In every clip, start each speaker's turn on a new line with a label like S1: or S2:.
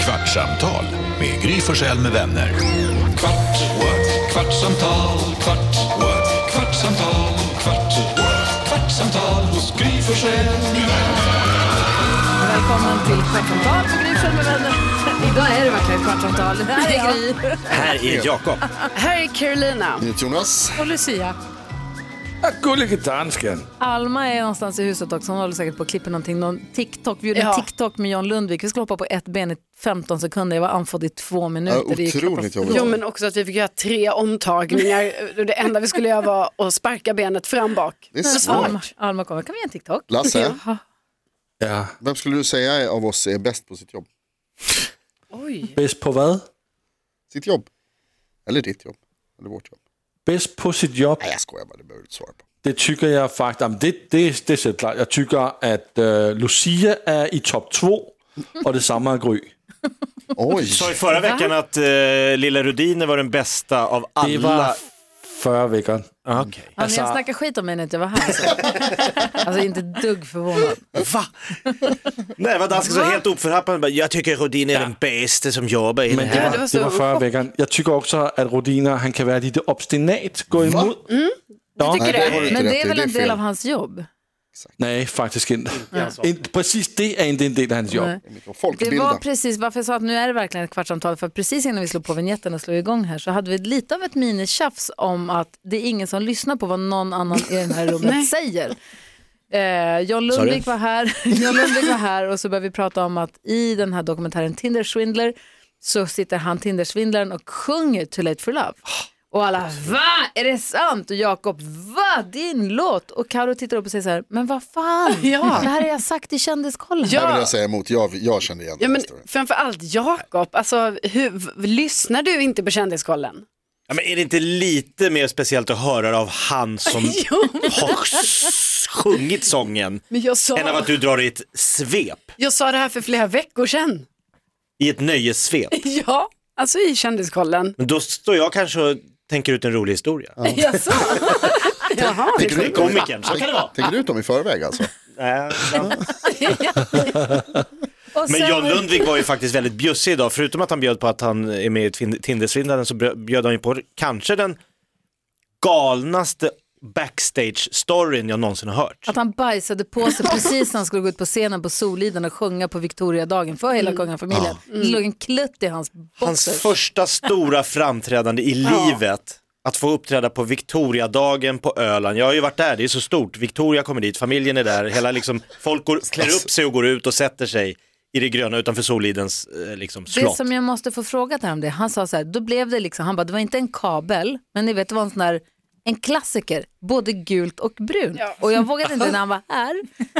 S1: Kvartsamtal med Gry Forssell med vänner. Kvart, what? kvartsamtal, kvart, what? kvartsamtal, kvart, what? kvartsamtal hos Gry Forssell med vänner.
S2: Välkommen till Kvartsamtal på Gry Forssell med vänner. Idag är det verkligen Kvartsamtal. Det här är Gry.
S3: Här är Jakob.
S2: Här är Carolina.
S4: Jonas.
S2: Och Lucia.
S5: Gullige dansken.
S2: Alma är någonstans i huset också. Hon håller säkert på att klippa någonting. Någon TikTok. Vi gjorde en TikTok med John Lundvik. Vi skulle hoppa på ett ben i 15 sekunder. Jag var andfådd i två minuter.
S4: Ja,
S2: Det gick
S4: otroligt
S2: knappast.
S4: jobbigt.
S6: Jo men också att vi fick göra tre omtagningar. Det enda vi skulle göra var att sparka benet fram bak.
S4: Det är svårt.
S2: Alma, Alma kommer. Kan vi göra en TikTok?
S4: Lasse,
S2: Alltså-
S5: Ja.
S4: vem skulle du säga är- av oss är bäst på sitt jobb?
S6: Oj.
S3: Bäst på vad?
S4: Sitt jobb? Eller ditt jobb? Eller vårt jobb?
S5: Bäst på sitt jobb,
S4: Nej, jag skojar bara, det behöver du inte svara på.
S5: det tycker jag faktiskt, Jamen, det, det, det är självklart. Jag tycker att eh, Lucia är i topp två och detsamma är Gry.
S4: Oj,
S3: Du sa i förra veckan att eh, Lilla Rudiner var den bästa av alla.
S5: Det var förra veckan.
S3: Okej.
S2: Ja, ni har snackat skit om mig när inte jag var här. Så. Alltså inte ett dugg förvånad.
S3: Va? Nej, det var dansken som helt oförhappad. bara, Jag tycker Rudin är den bästa som jobbar i den
S5: Men det
S3: här.
S5: var, det var förra veckan. Jag tycker också att Rodina, han kan vara lite obstinat, gå emot. Ja.
S4: Nej, det har du inte
S2: Men
S4: rätt
S2: det
S4: i,
S2: är väl en
S4: fel.
S2: del av hans jobb?
S5: Nej, faktiskt inte. Inte- Precis det är inte en del av hans jobb.
S2: Det var
S4: Folkbilda.
S2: precis varför jag sa att nu är det verkligen ett kvartsamtal. För precis innan vi slog på vignetten och slog igång här så hade vi lite av ett minitjafs om att det är ingen som lyssnar på vad någon annan i det här rummet säger. Eh, John Lundvik var här John Lundvik var här och så började vi prata om att i den här dokumentären Tinder Swindler så sitter han Tindersvindlaren och sjunger Too late for love. Och alla, va? Är det sant? Och Jakob, va? Din låt? Och Karo tittar upp och säger så här, men vad fan?
S6: Ja.
S2: Det här har jag sagt i Kändiskollen.
S4: Här vill
S6: Ja.
S4: jag säga emot, jag, jag kände igen
S6: Ja,
S4: den
S6: men
S4: historien.
S6: framförallt Jakob, alltså, hur, v- lyssnar du inte på Kändiskollen?
S3: Ja, men är det inte lite mer speciellt att höra det av han som har s- sjungit sången
S6: Men jag
S3: än av
S6: sa,
S3: att du drar i ett svep,
S6: jag sa det här för flera veckor sedan.
S3: i ett nöjessvep?
S6: Ja, alltså i Kändiskollen.
S3: Men då står jag kanske och tänker ut en rolig historia.
S6: Jaså? Jaha,
S4: Tänker du
S3: Det är
S4: ut dem i-
S3: komikern, så kan det vara.
S4: Tänker du ut dem i förväg alltså?
S2: Äh,
S3: Nej, ja.
S2: Och
S3: Men
S2: sen-
S3: John Lundvik var ju faktiskt väldigt bjussig idag. Förutom att han bjöd på att han är med i Tind- Tindersvindlaren så brö- bjöd han ju på kanske den galnaste backstage-storyn jag någonsin har hört.
S2: Att han bajsade på sig precis när han skulle gå ut på scenen på Soliden och sjunga på Victoriadagen för hela kungafamiljen. Det låg en klutt i Mm. hans
S3: Hans
S2: boxer.
S3: första stora framträdande i livet, att få uppträda på Victoriadagen på Öland. Jag har ju varit där, det är så stort. Victoria kommer dit, familjen är där, hela liksom, folk går, klär upp sig och går ut och sätter sig i det gröna utanför Solidens eh, liksom,
S2: Det
S3: slott.
S2: som jag måste få fråga där om det, han sa så här, då blev det liksom, han bara, det var inte en kabel, men ni vet det var en sån där, en klassiker, både gult och brunt. Och jag vågade inte när han var här,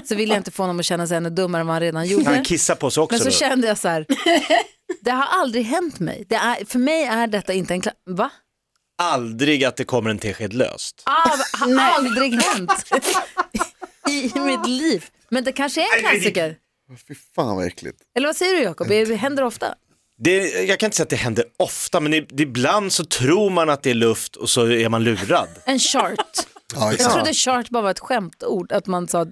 S2: så ville jag inte få honom att känna sig ännu dummare än vad han redan gjorde.
S3: Han kissar på sig också
S2: Men så
S3: nu.
S2: kände jag så här, det har aldrig hänt mig. Det är, för mig är detta inte en, kla- va?
S3: Aldrig att det kommer en tesked löst.
S2: av, har aldrig hänt i mitt liv. Men det kanske är en klassiker.
S4: Fy fan vad äckligt.
S2: Eller vad säger du Jakob? Det händer ofta.
S3: Det, jag kan inte säga att det händer ofta, men i- ibland så tror man att det är luft och så är man lurad.
S2: En chart.
S4: Ja,
S2: Jag
S4: exakt.
S2: trodde chart bara var ett skämtord. Att man sa,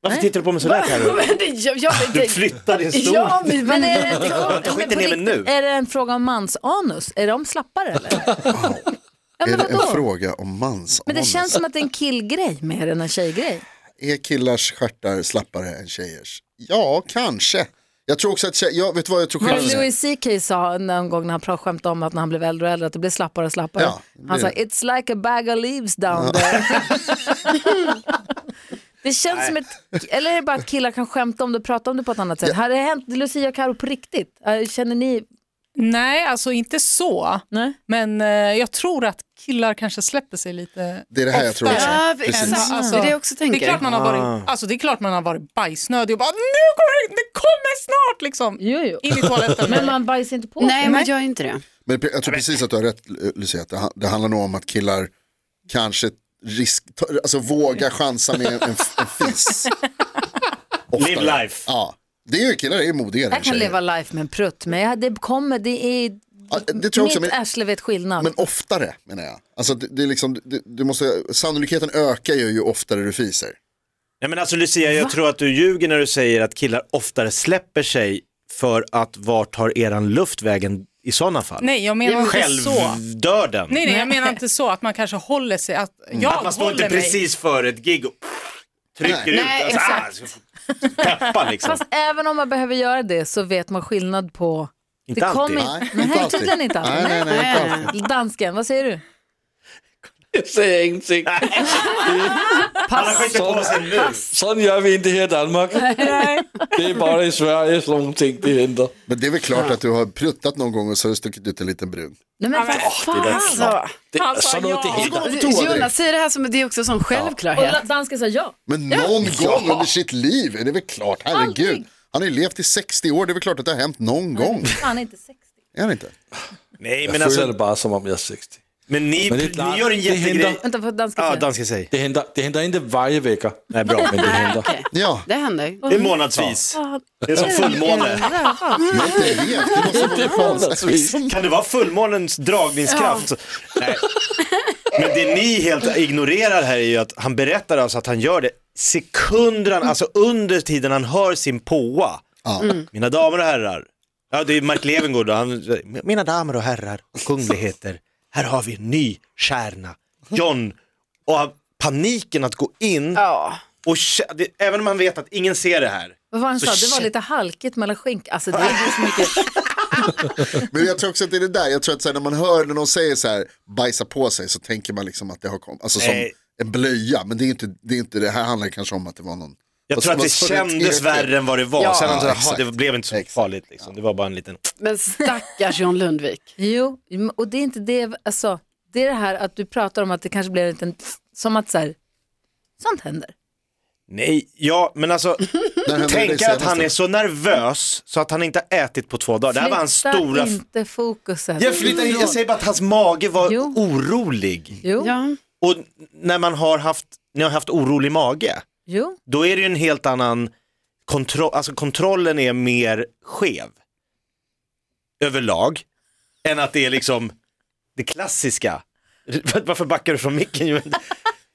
S3: Varför tittar du på mig sådär Carro?
S6: men det, jag, jag,
S3: Du
S6: det,
S3: flyttar din stol.
S6: ja, men,
S2: men
S6: men
S2: är det,
S3: Jag skiter
S2: på
S3: ner mig
S2: riktigt,
S3: nu.
S2: är det en fråga om mansanus? Är de slappare eller? Ja,
S4: Är
S2: men
S4: det en
S2: vadå?
S4: fråga om mans
S2: Men det
S4: anus?
S2: känns som att det är en killgrej mer än en tjejgrej.
S4: Är killars stjärtar slappare än tjejers? Ja, kanske. Jag tror också att tjejer, jag vet du vad jag tror
S2: Men
S4: skillnaden är?
S2: Louis CK sa någon gång när han pra- skämtade om att när han blev äldre och äldre att det blev slappare och slappare.
S4: Ja, det
S2: han sa
S4: blir
S2: it's like a bag of leaves down there. det känns som ett, eller är det bara att killar kan skämta om det och prata om det på ett annat sätt? Har det hänt Lucia och Karo på riktigt? Eh, Känner ni?
S7: Nej, alltså inte så.
S2: Nej?
S7: Men eh, jag tror att killar kanske släpper sig lite
S4: Det är det här jag tror också.
S7: oftare.
S6: ja,
S4: Precis.
S6: exakt. det är alltså- det jag också tänker.
S7: Det är, klart man har varit,
S3: Ah.
S7: alltså, det är klart man har varit bajsnödig och bara nu går det, det kommer snart liksom.
S2: Jo, jo.
S7: In i toaletten.
S2: Men man bajsar inte på
S6: Nej,
S2: sig.
S6: man gör inte det.
S4: Men pe- jag tror precis att du har rätt Lu- Lucia, att det han- det handlar nog om att killar kanske risk, ta- alltså våga chansa med en, en, f- en fis. Oftare.
S3: Live life.
S4: Ja, det är ju killar är ju modigare än
S2: Jag kan leva
S4: tjejer.
S2: life med en prutt men jag- det kommer, det är,
S4: Ja, det tror jag också,
S2: mitt
S4: men-
S2: arsle vet skillnad.
S4: Men oftare menar jag. Alltså det, det är liksom, det, du måste, sannolikheten ökar ju ju oftare du fiser.
S3: Nej men alltså Lucia, jag tror att du ljuger när du säger att killar oftare släpper sig för att vart tar eran luft vägen i sådana fall?
S7: Nej, jag menar inte
S3: Själv
S7: så.
S3: dör den.
S7: Nej, nej, jag menar inte så att man kanske håller sig. Att jag
S3: Mm. att man står
S7: håller
S3: inte
S7: mig.
S3: precis före ett gig och trycker ut.
S6: Nej,
S3: alltså, ah, så- Peppa liksom.
S2: Fast även om man behöver göra det så vet man skillnad på...
S3: Inte
S2: det
S3: alltid.
S2: kommer-
S4: Nej,
S2: Nej,
S4: inte alltid.
S2: tydligen inte alltid.
S4: Nej, nej, nej, inte alltid.
S2: Dansken, vad säger du?
S5: Jeg sagde ingenting.
S3: Han har skjutit på sig nu.
S5: Sådan gør vi ikke her i Danmark. Det er bare i Sverige, sådan nogle ting, det henter.
S4: Men det är väl klart att du har pruttat någon gång och så har du stuckit ut en liten brun.
S2: Nej, men vad fan.
S6: Alltså,
S5: Det er sådan noget, det henter.
S6: Jonas säger det här som det är också en sån självklarhet.
S2: Och dansken sa ja.
S4: Men någon gång under sitt liv, är det väl klart, herregud. Han har ju levt i 60 år, det är väl klart att det har hänt någon gång.
S2: Fan, inte 60.
S4: Är det inte?
S3: Nej,
S5: Jeg
S3: men
S5: føler
S3: alltså,
S5: det bare, som om jeg er 60.
S3: men ni,
S5: Men det är
S3: ni
S5: klart,
S3: gör en
S5: det
S3: jättegrej.
S5: händer.
S2: Vänta, får dansken
S3: Ja,
S2: säga?
S3: danska säg.
S5: Det henter, det henter ikke vejevækker.
S3: Nej, bra.
S5: Men det henter.
S4: Ja,
S6: Det händer.
S3: Det är månadsvis. Det är som fullmåne. Mm.
S4: jag har inte levt, det måste vara
S5: Det er
S3: Alltså,
S5: månedsvis.
S3: Kan det vara fullmånens dragningskraft? Nej. Men det ni helt ignorerar här är ju att han berättar alltså att han gör det sekunderna, alltså under tiden han hör sin påa. Mina damer och herrar. Ja, det är Mark Levengood. och Han, Mina damer och herrar, kungligheter. Här har vi en ny stjärna. John. Och han- paniken att gå in.
S6: Ja.
S3: Och, kä- det, även om han vet att ingen ser det här.
S2: Vad var han
S3: Så
S2: sa? Det var
S3: shit.
S2: lite halkigt mellan skink. Alltså det är ju så mycket.
S4: Men jag tror också att det är det där, jag tror att så här, när man hör när någon säger så här, bajsa på sig, så tänker man liksom att det har kommit, alltså som
S3: Nej.
S4: en blöja, men det är inte, det är inte, det här handlar kanske om att det var någon.
S3: Jag
S4: vad-
S3: tror att
S4: vad
S3: det
S4: står i
S3: kändes
S4: TT?
S3: värre än vad det var.
S6: Ja,
S3: Sen han sa,
S4: exakt.
S3: "Jaha, det blev inte så
S4: Exakt.
S3: farligt liksom. Det var bara en liten...
S6: Men stackars John Lundvik.
S2: Jo, och det är inte det, alltså det är det här att du pratar om att det kanske blir en liten, som att så här, sånt händer.
S3: Nej, ja, men alltså
S4: När hände det
S3: tänk
S4: dig
S3: att han är
S4: senast?
S3: så nervös så att han inte har ätit på två dagar. Det här var hans
S2: Flytta
S3: stora...
S2: inte fokusen.
S3: Jag, flyttar in, jag säger bara att hans mage var
S2: Jo.
S3: orolig.
S2: Jo,
S6: Ja.
S3: Och när man har haft, ni har haft orolig mage,
S2: jo.
S3: då är det ju en helt annan kontroll, alltså kontrollen är mer skev överlag än att det är liksom det klassiska. Varför backar du från micken?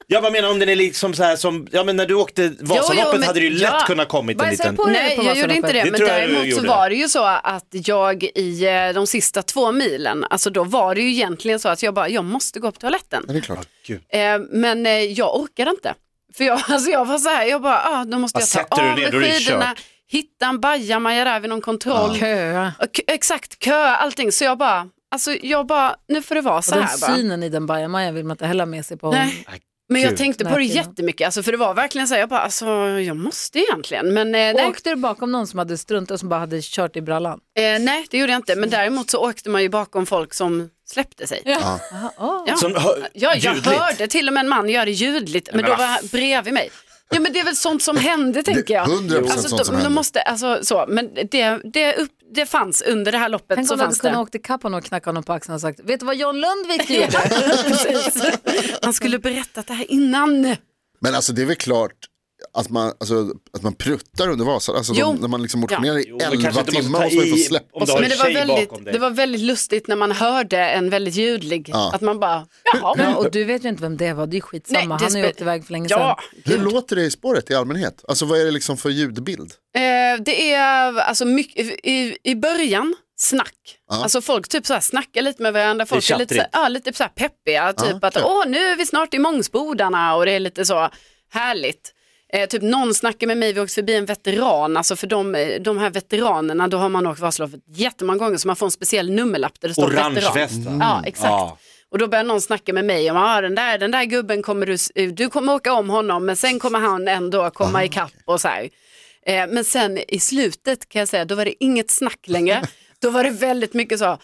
S3: Jag bara menar om den är liksom så här som, ja men när du åkte Vasaloppet
S6: men-
S3: hade det ju lätt
S6: ja.
S3: kunnat kommit en
S2: Bajsa
S3: liten...
S2: på dig
S6: Nej,
S2: på
S6: jag gjorde
S2: Vasaloppet.
S6: inte det.
S3: Det
S6: men
S3: tror jag du
S6: däremot så
S3: gjorde.
S6: var det ju så att jag i eh, de sista två milen, alltså då var det ju egentligen så att jag bara, jag måste gå på toaletten.
S2: Mm.
S4: Ja, det är klart.
S6: Eh, men eh, jag orkade inte. För jag, alltså jag var så här, jag bara, ah, då måste
S3: Bara
S6: jag
S3: sätter
S6: ta
S3: du
S6: av
S3: ner,
S6: mig
S3: då är det
S6: skidorna,
S3: kört.
S6: hitta en bajamaja där vid någon kontroll.
S2: Köa.
S6: Och k- Exakt, kö, allting. Så jag bara, alltså jag bara, nu får det vara så
S2: Och den
S6: här bara.
S2: synen i den bajamajan vill man inte heller ha med sig på.
S6: Nej. Men jag tänkte på det
S2: Verkligen.
S6: jättemycket, alltså, för det var verkligen så här, jag bara, alltså jag måste egentligen. Men eh,
S2: Och
S6: nej,
S2: Åkte du bakom någon som hade struntat och som bara hade kört i brallan?
S6: eh, nej, det gjorde jag inte. Men däremot så åkte man ju bakom folk som släppte sig.
S3: Som,
S6: Ja, jag
S3: ljudligt.
S6: hörde till och med en man göra det ljudligt, men,
S3: men
S6: då
S3: vad
S6: var han bredvid mig. Ja, men det är väl sånt som hände, tänker jag.
S4: 100%
S6: alltså,
S4: sånt
S6: då-
S4: som
S6: då
S4: händer.
S6: Måste, alltså, så, men det, det, upp, det fanns under det här loppet.
S2: Tänk
S6: så
S2: om du hade
S6: fanns
S2: kunnat
S6: det.
S2: åkt ikapp honom och knackat honom på axeln och sagt, vet du vad John Lundvik gjorde?
S6: Precis. Han skulle berättat det här innan.
S4: Men alltså det är väl klart att man, alltså, att man pruttar under Vasa, alltså
S6: Jo.
S4: de, när man liksom motionerar
S3: Jo,
S4: i
S3: men kanske
S4: 11
S3: inte måste
S4: timmar
S3: ta
S4: och så man får
S3: i
S4: släppa
S3: om du
S4: sig.
S3: har
S6: Men det
S3: en
S6: var,
S3: tjej
S6: väldigt,
S3: bakom dig.
S6: det var väldigt lustigt när man hörde en väldigt ljudlig,
S4: Ja.
S6: att man bara, jaha.
S2: Men, och du vet ju inte vem det var, det är skitsamma.
S6: Nej, det
S2: Han har ju
S6: spe-
S2: åkt iväg för länge
S6: Ja,
S2: sedan.
S4: Hur låter det i spåret i allmänhet? Alltså vad är det liksom för ljudbild?
S6: eh, det är alltså mycket, i, i början, snack.
S4: Ja.
S6: Alltså folk typ så här snackar lite med varandra, folk
S3: Det är
S6: är lite, så här, ja, lite så här peppiga, typ
S4: Ja,
S6: att
S4: ja.
S6: åh nu är vi snart i Mångsbodarna och det är lite så härligt. Eh, typ någon snackar med mig, vi åkte förbi en veteran, alltså för de, de här veteranerna, då har man åkt Vasaloppet jättemånga gånger så man får en speciell nummerlapp där det står
S3: Orange
S6: veteran.
S3: väst. va?
S4: Mm.
S6: Ja, exakt.
S5: Ja.
S6: Och då börjar någon snacka med mig om ah, den, där, den där gubben kommer du, eh, du kommer åka om honom men sen kommer han ändå
S4: Ah.
S6: komma ikapp och så här. Eh, men sen i slutet kan jag säga, då var det inget snack längre. då var det väldigt mycket så, "Ah."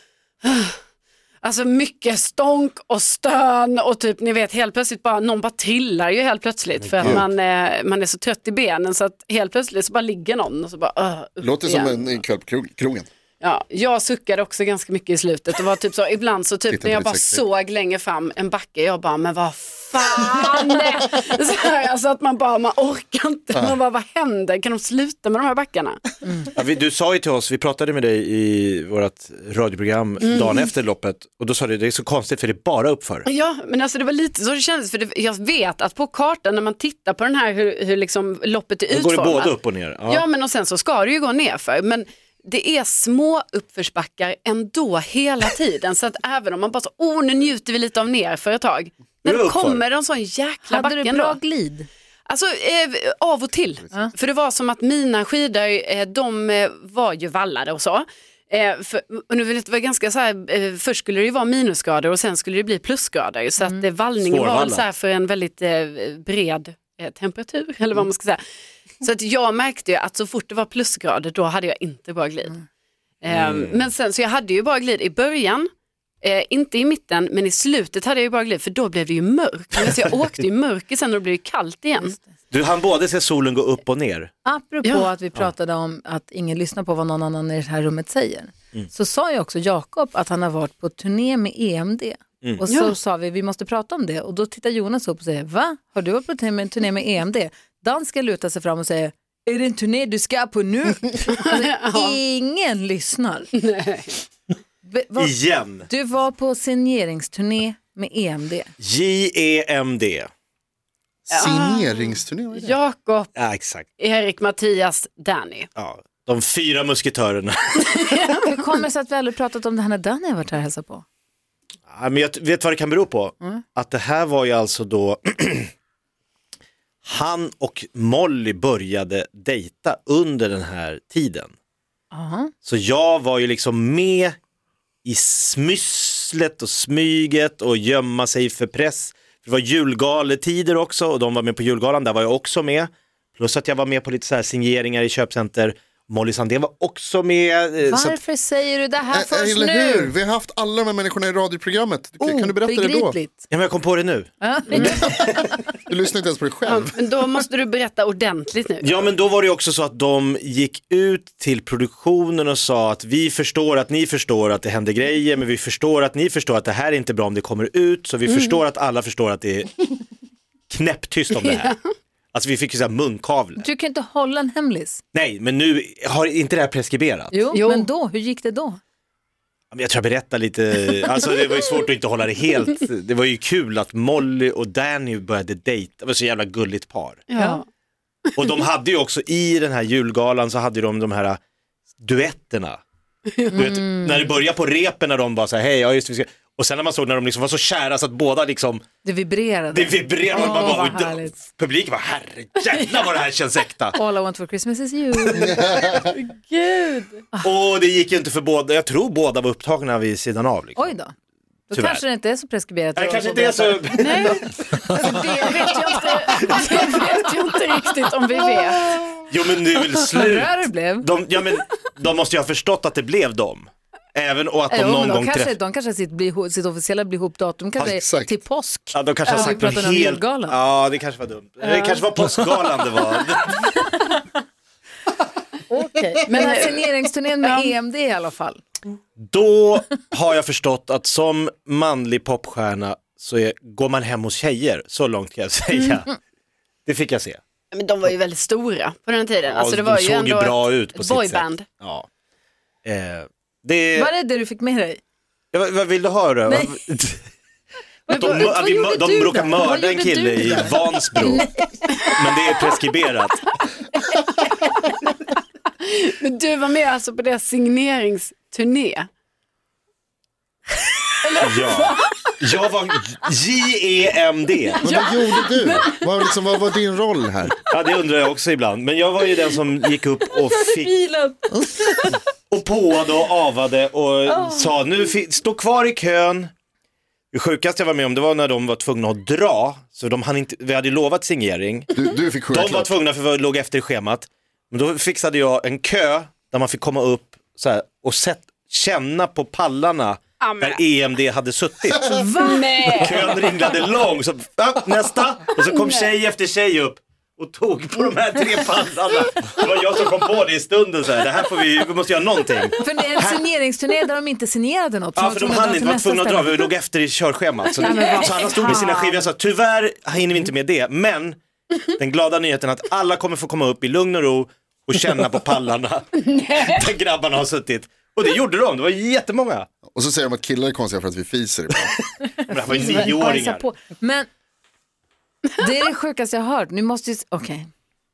S6: alltså mycket stånk och stön och typ ni vet helt plötsligt bara, någon bara trillar ju helt plötsligt för att man, eh, man är så trött i benen så att helt plötsligt så bara ligger någon och så bara, "Ah", upp
S4: Låter som
S6: igen.
S4: en, en kväll på krog- krogen.
S6: Ja, jag suckade också ganska mycket i slutet och var typ så, ibland så typ
S4: Titta
S6: när
S4: på
S6: jag
S4: ditt
S6: bara
S4: sexliv.
S6: såg längre fram en backe, jag bara, men vad fan! så här, alltså att man bara, man orkar inte, man bara, vad händer? Kan de sluta med de här backarna?
S3: Ja, vi, du sa ju till oss, vi pratade med dig i vårt radioprogram
S6: Mm.
S3: dagen efter loppet och då sa du det är så konstigt för det är bara uppför.
S6: Ja, men alltså det var lite så det kändes, för det, jag vet att på kartan när man tittar på den här hur, hur liksom loppet är
S3: Då går det
S6: utformat.
S3: både upp och ner. Ja.
S6: Ja, men och sen så ska det ju gå nerför. Men det är små uppförsbackar ändå hela tiden. Så att även om man bara så, oh nu njuter vi lite av nerför ett tag.
S3: Nu är det
S6: Men
S3: uppför.
S6: kommer det en sån jäkla
S2: Hade
S6: backe
S2: du bra
S6: ändå.
S2: glid?
S6: Alltså eh, av och till. För det var som att mina skidor, eh, de eh, var ju vallade och så. Eh, för, och nu vet, det var ganska så här, eh, först skulle det ju vara minusgrader och sen skulle det bli plusgrader. Så att eh, vallningen var väl
S3: Svårvallat.
S6: så här för en väldigt eh, bred eh, temperatur eller vad man ska säga. Så att jag märkte ju att så fort det var plusgrader då hade jag inte bra glid. Eh, Men sen så jag hade ju bra glid i början. Eh, inte i mitten, men i slutet hade jag ju bara glid för då blev det ju mörkt. Men Så jag åkte ju mörker sen och då blev det kallt igen.
S3: Du hann både se solen gå upp och ner.
S2: Apropå
S6: Ja.
S2: att vi pratade om att ingen lyssnar på vad någon annan i det här rummet säger.
S6: Mm.
S2: Så sa ju också Jakob att han har varit på turné med EMD. Och så
S6: Mm. Ja.
S2: sa vi vi måste prata om det och då tittar Jonas upp och säger va? Har du varit på turné med, turné med E EMD? Dansken lutar sig fram och säger är det en turné du ska på nu? alltså, ingen lyssnar. Be- vad-
S3: Igen.
S2: Du var på signeringsturné med E EMD.
S3: E J-E-M-D.
S4: Signeringsturné, vad är det?
S6: Jakob,
S3: Ja, exakt.
S6: Erik, Mattias, Danny.
S3: Ja. De fyra musketörerna.
S2: Hur kommer det sig att vi aldrig pratat om det här när Danny har varit här och hälsat på?
S3: Ja, men jag t- vet vad det kan bero på? Att det här var ju alltså då han och Molly började dejta under den här tiden. Så jag var ju liksom med i smysslet och smyget och gömma sig för press. Det var julgaletider också och de var med på julgalan, där var jag också med. Plus att jag var med på lite så här signeringar i köpcenter. Molly Sandén var också med. eh, Så att,
S2: Varför säger du det här
S4: Ä-
S2: först
S4: eller hur?
S2: nu?
S4: Vi har haft alla de här människorna i radioprogrammet. Kan, kan du berätta det då?
S2: Obegripligt.
S3: ja, men jag kom på det nu.
S4: Du lyssnar inte ens på dig
S6: Ja,
S4: själv.
S6: Men då måste du berätta ordentligt nu.
S3: Ja men då var det ju också så att de gick ut till produktionen och sa att vi förstår att ni förstår att det händer grejer men vi förstår att ni förstår att det här är inte bra om det kommer ut så vi förstår att alla förstår att det är knäpptyst om det här. Alltså vi fick ju såhär munkavle.
S2: Du kan inte hålla en hemlis.
S3: Nej men nu har inte det här preskriberat.
S2: Jo,
S6: Jo.
S2: men då, hur gick det då?
S3: Men Jag tror jag berättar lite, alltså det var ju svårt att inte hålla det helt. Det var ju kul att Molly och Danny började dejta, det var så jävla gulligt par.
S6: Ja.
S3: Och de hade ju också i den här julgalan så hade de de här äh, duetterna. Du vet,
S2: Mm.
S3: när det började på repen när de bara så här, hej, ja just det, vi ska... Och sen när man såg när de liksom var så kära så att båda liksom,
S2: Det vibrerade.
S3: det vibrerade.
S2: Åh,
S3: man bara,
S2: vad
S3: "Oj, då-"
S2: härligt.
S3: Publiken bara, herrejävlar vad det här känns äkta.
S2: All I want for Christmas is you.
S3: Och det gick ju inte för båda, jag tror båda var upptagna vid sidan av. Liksom.
S2: Oj då. Då
S3: Tyvärr.
S2: kanske det inte är så preskriberat.
S3: Nej, kanske inte är så...
S6: Det vet jag inte, det vet jag inte riktigt om vi vet.
S3: Jo men nu är väl
S2: Vad
S3: slut.
S2: rör det blev.
S3: De, ja, men, de måste ju ha förstått att det blev dem. Även och att de
S2: Jo, men
S3: någon
S2: de
S3: gång
S2: kanske,
S3: träffade...
S2: de kanske har sitt, bli, sitt officiella bli ihop-datum kanske
S4: Ja,
S2: är
S4: exakt.
S2: till påsk.
S3: Ja, de kanske har
S2: Ja, vi
S3: sagt något
S2: pratar om
S3: helt...
S2: julgalan.
S3: Ja, det kanske var dumt. Det kanske var påskgalan det var.
S2: Men den här signeringsturnén med EMD i alla fall.
S3: Då har jag förstått att som manlig popstjärna så är, går man hem hos tjejer, så långt kan jag säga.
S2: Mm.
S3: Det fick jag se.
S6: Men de var ju väldigt stora på den tiden. Alltså, det
S3: Ja,
S6: var
S3: de
S6: ju
S3: såg
S6: ändå
S3: ju bra
S6: ett,
S3: ut på
S6: ett
S3: sitt
S6: boyband.
S3: sätt. Ja. Eh, det,
S2: Var det det du fick med dig?
S3: ja, vad, vad vill du höra?
S2: Nej.
S3: Att de
S2: vad-
S3: mö-
S2: vad
S3: att vi mö-
S2: gjorde
S3: de
S2: du
S3: råkade
S2: där? Vad
S3: mörda en
S2: gjorde du
S3: kille i
S2: där?
S3: Vansbro, men det är preskriberat.
S6: Men du var med alltså på deras signeringsturné.
S3: Ja. Jag var E J-E-M-D.
S4: Men vad gjorde du? Vad, liksom, vad var din roll här?
S3: Ja, det undrar jag också ibland. Men jag var ju den som gick upp och fick
S2: Bilen.
S3: och påade och avade och sa nu fi- stå kvar i kön. Det sjukaste jag var med om det var när de var tvungna att dra, så de hann inte, vi hade ju lovat signering.
S4: Du, du fick sjunga
S3: De var
S4: klart.
S3: tvungna för vi låg efter i schemat. Men då fixade jag en kö där man fick komma upp så här, och sett, känna på pallarna där EMD hade suttit. Kön ringlade lång, så ja, nästa! Och så kom tjej efter tjej upp och tog på de här tre pallarna. Det var jag som kom på det i stunden, så här. det här får vi, vi måste göra någonting.
S2: För det är en signeringsturné där de inte signerade något. så
S3: Ja, för de
S2: var tvungna att
S3: hann
S2: dra
S3: inte,
S2: till
S3: var
S2: nästa
S3: tvungna att dra,
S2: ställe.
S3: vi låg efter i körschemat. Så, så alla stod med sina skivor, jag sa tyvärr hinner vi inte med det, men den glada nyheten att alla kommer få komma upp i lugn och ro och känna på pallarna där grabbarna har suttit. Och det gjorde de, det var jättemånga.
S4: Och så säger de att killar är konstiga för att vi fiser ibland.
S3: Men det här var ju
S2: Bajsa
S3: nioåringar.
S2: på. Men det är det sjukaste jag har hört. Nu måste ju... Okej.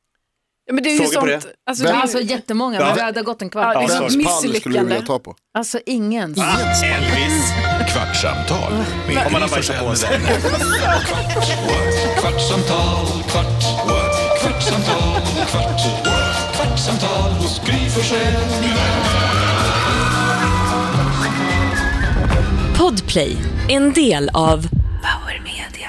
S6: Ja, men det är ju
S3: Frågor på
S6: sånt.
S3: det?
S6: Alltså,
S4: Vem-
S6: det är-
S2: Alltså jättemånga, men
S3: Ja.
S2: vi hade gått en
S6: Ja,
S2: kvart.
S6: det är
S4: Vems
S6: sånt
S4: pall skulle du vilja
S6: misslyckande.
S4: ta på?
S2: Alltså ingen.
S3: Elvis.
S1: Kvartsamtal med
S3: Om man har
S1: Gry Forssell med
S3: bajsat
S1: vänner. Kvart, what? Kvartsamtal, kvart, what? kvartsamtal, kvart, what? kvartsamtal hos Gry Forssell med vänner.
S8: Podplay, en del av Power Media.